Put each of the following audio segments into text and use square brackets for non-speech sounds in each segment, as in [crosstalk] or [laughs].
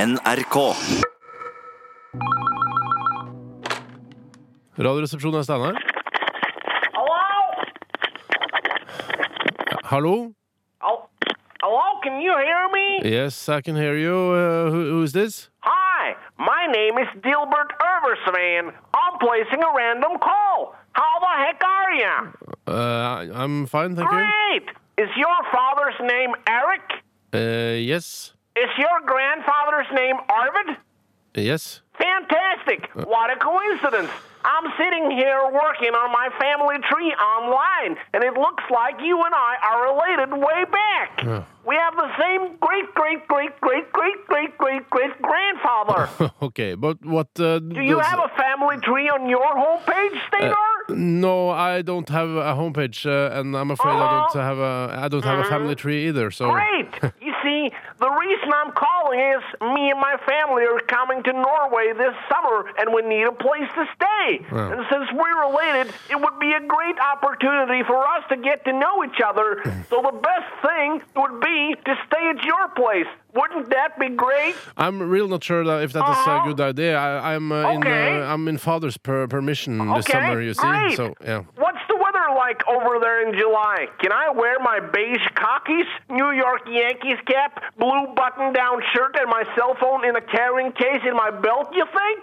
NRK. Radioresepsjonen er Steinar. Hello? Hallo? Oh, hello, can you hear me? Yes, I can hear you. Uh, who, who is this? Hi, my name is Dilbert Erversman. I'm placing a random call. How the heck are you? Uh, I- I'm fine, thank you. Great! Is your father's name Eric? Uh, yes. Is your grandfather's name Arvid? Yes. [laughs] Fantastic! What a coincidence! I'm sitting here working on my family tree online, and it looks like you and I are related way back. We have the same great, great, great, great, great, great, great, great grandfather. okay, but what... Uh, Do you have a family tree on your homepage, Steinar? No, I don't have a homepage, uh, and I'm afraid I don't have a I don't have a family tree either. So Oh. Mm-hmm. Great! You see, the reason I'm calling is me and my family are coming to Norway this summer, and we need a place to stay. Wow. And since we're related, it would be a great opportunity for us to get to know each other. so the best thing would be to stay at your place. Wouldn't that be great? I'm really not sure that if that is a Uh-huh. good idea. I, I'm uh, in Okay. uh, I'm in father's per permission this okay, summer. You see, great. so yeah. What's the weather like over there in July? Can I wear my beige khakis, New York Yankees cap, blue button-down shirt, and my cell phone in a carrying case in my belt? You think?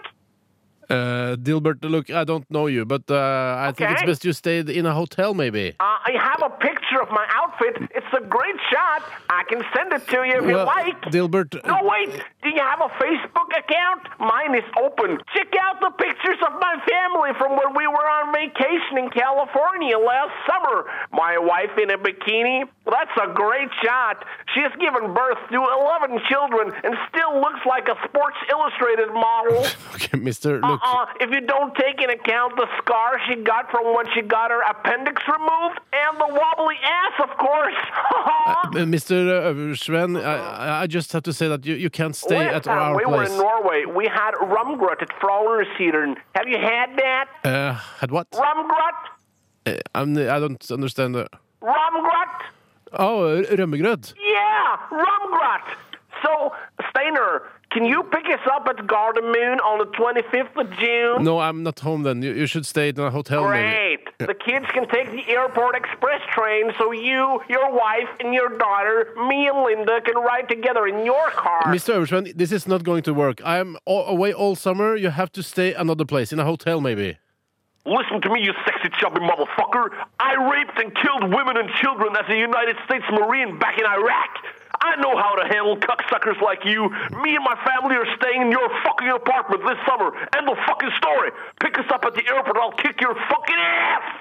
Uh, Dilbert, look, I don't know you, but uh, I think it's Okay. best you stayed in a hotel, maybe. Uh, I have a picture of my outfit. It's a great shot. I can send it to you if you well, like. Dilbert, no, wait. Do you have a Facebook account? Mine is open. Check out the pictures of my family from when we were on vacation in California last summer. My wife in a bikini. That's a great shot. She's given birth to 11 children and still looks like a Sports Illustrated model. [laughs] okay, Mister, look. Uh, if you don't take into account the scar she got from when she got her appendix removed and the wobbly ass, of course. [laughs] Uh-uh. Uh, Mr. Översven, I- I, I just have to say that you, you can't stay Last at time our we were place. in Norway, we had rumgrut at Frognerseateren. Have you had that? uh, had what? Rumgrut? Uh, I'm, I don't understand. The... Rumgrut? Oh, r- rømmegrøt. Yeah, rumgrut. So, Steiner, can you pick us up at Garden Moon on the 25th of June? No, I'm not home then. You, you should stay in a hotel. Maybe. Great. The kids can take the airport express train, so you, your wife, and your daughter, me and Linda, can ride together in your car. Mr. Översven, this is not going to work. I am a- away all summer. You have to stay another place, in a hotel maybe. Listen to me, you sexy, chubby motherfucker. I raped and killed women and children as a United States Marine back in Iraq. I know how to handle cucksuckers like you. Me and my family are staying in your fucking apartment this summer. End of fucking story. Pick us up at the airport, I'll kick your fucking ass!